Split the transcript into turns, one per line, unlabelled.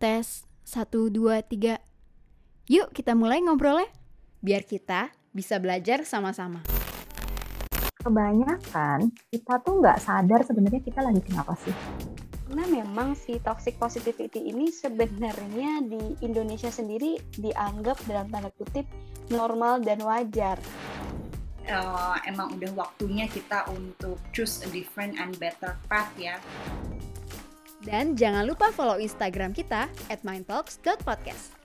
Tes 1, 2, 3 Yuk kita mulai ngobrolnya
biar kita bisa belajar sama-sama.
kebanyakan kita tuh nggak sadar sebenarnya kita lagi kenapa sih.
Karena memang si toxic positivity ini sebenarnya di Indonesia sendiri dianggap dalam tanda kutip normal dan wajar.
eh, emang udah waktunya kita untuk choose a different and better path ya.
Dan jangan lupa follow Instagram kita at mindtalks.podcast.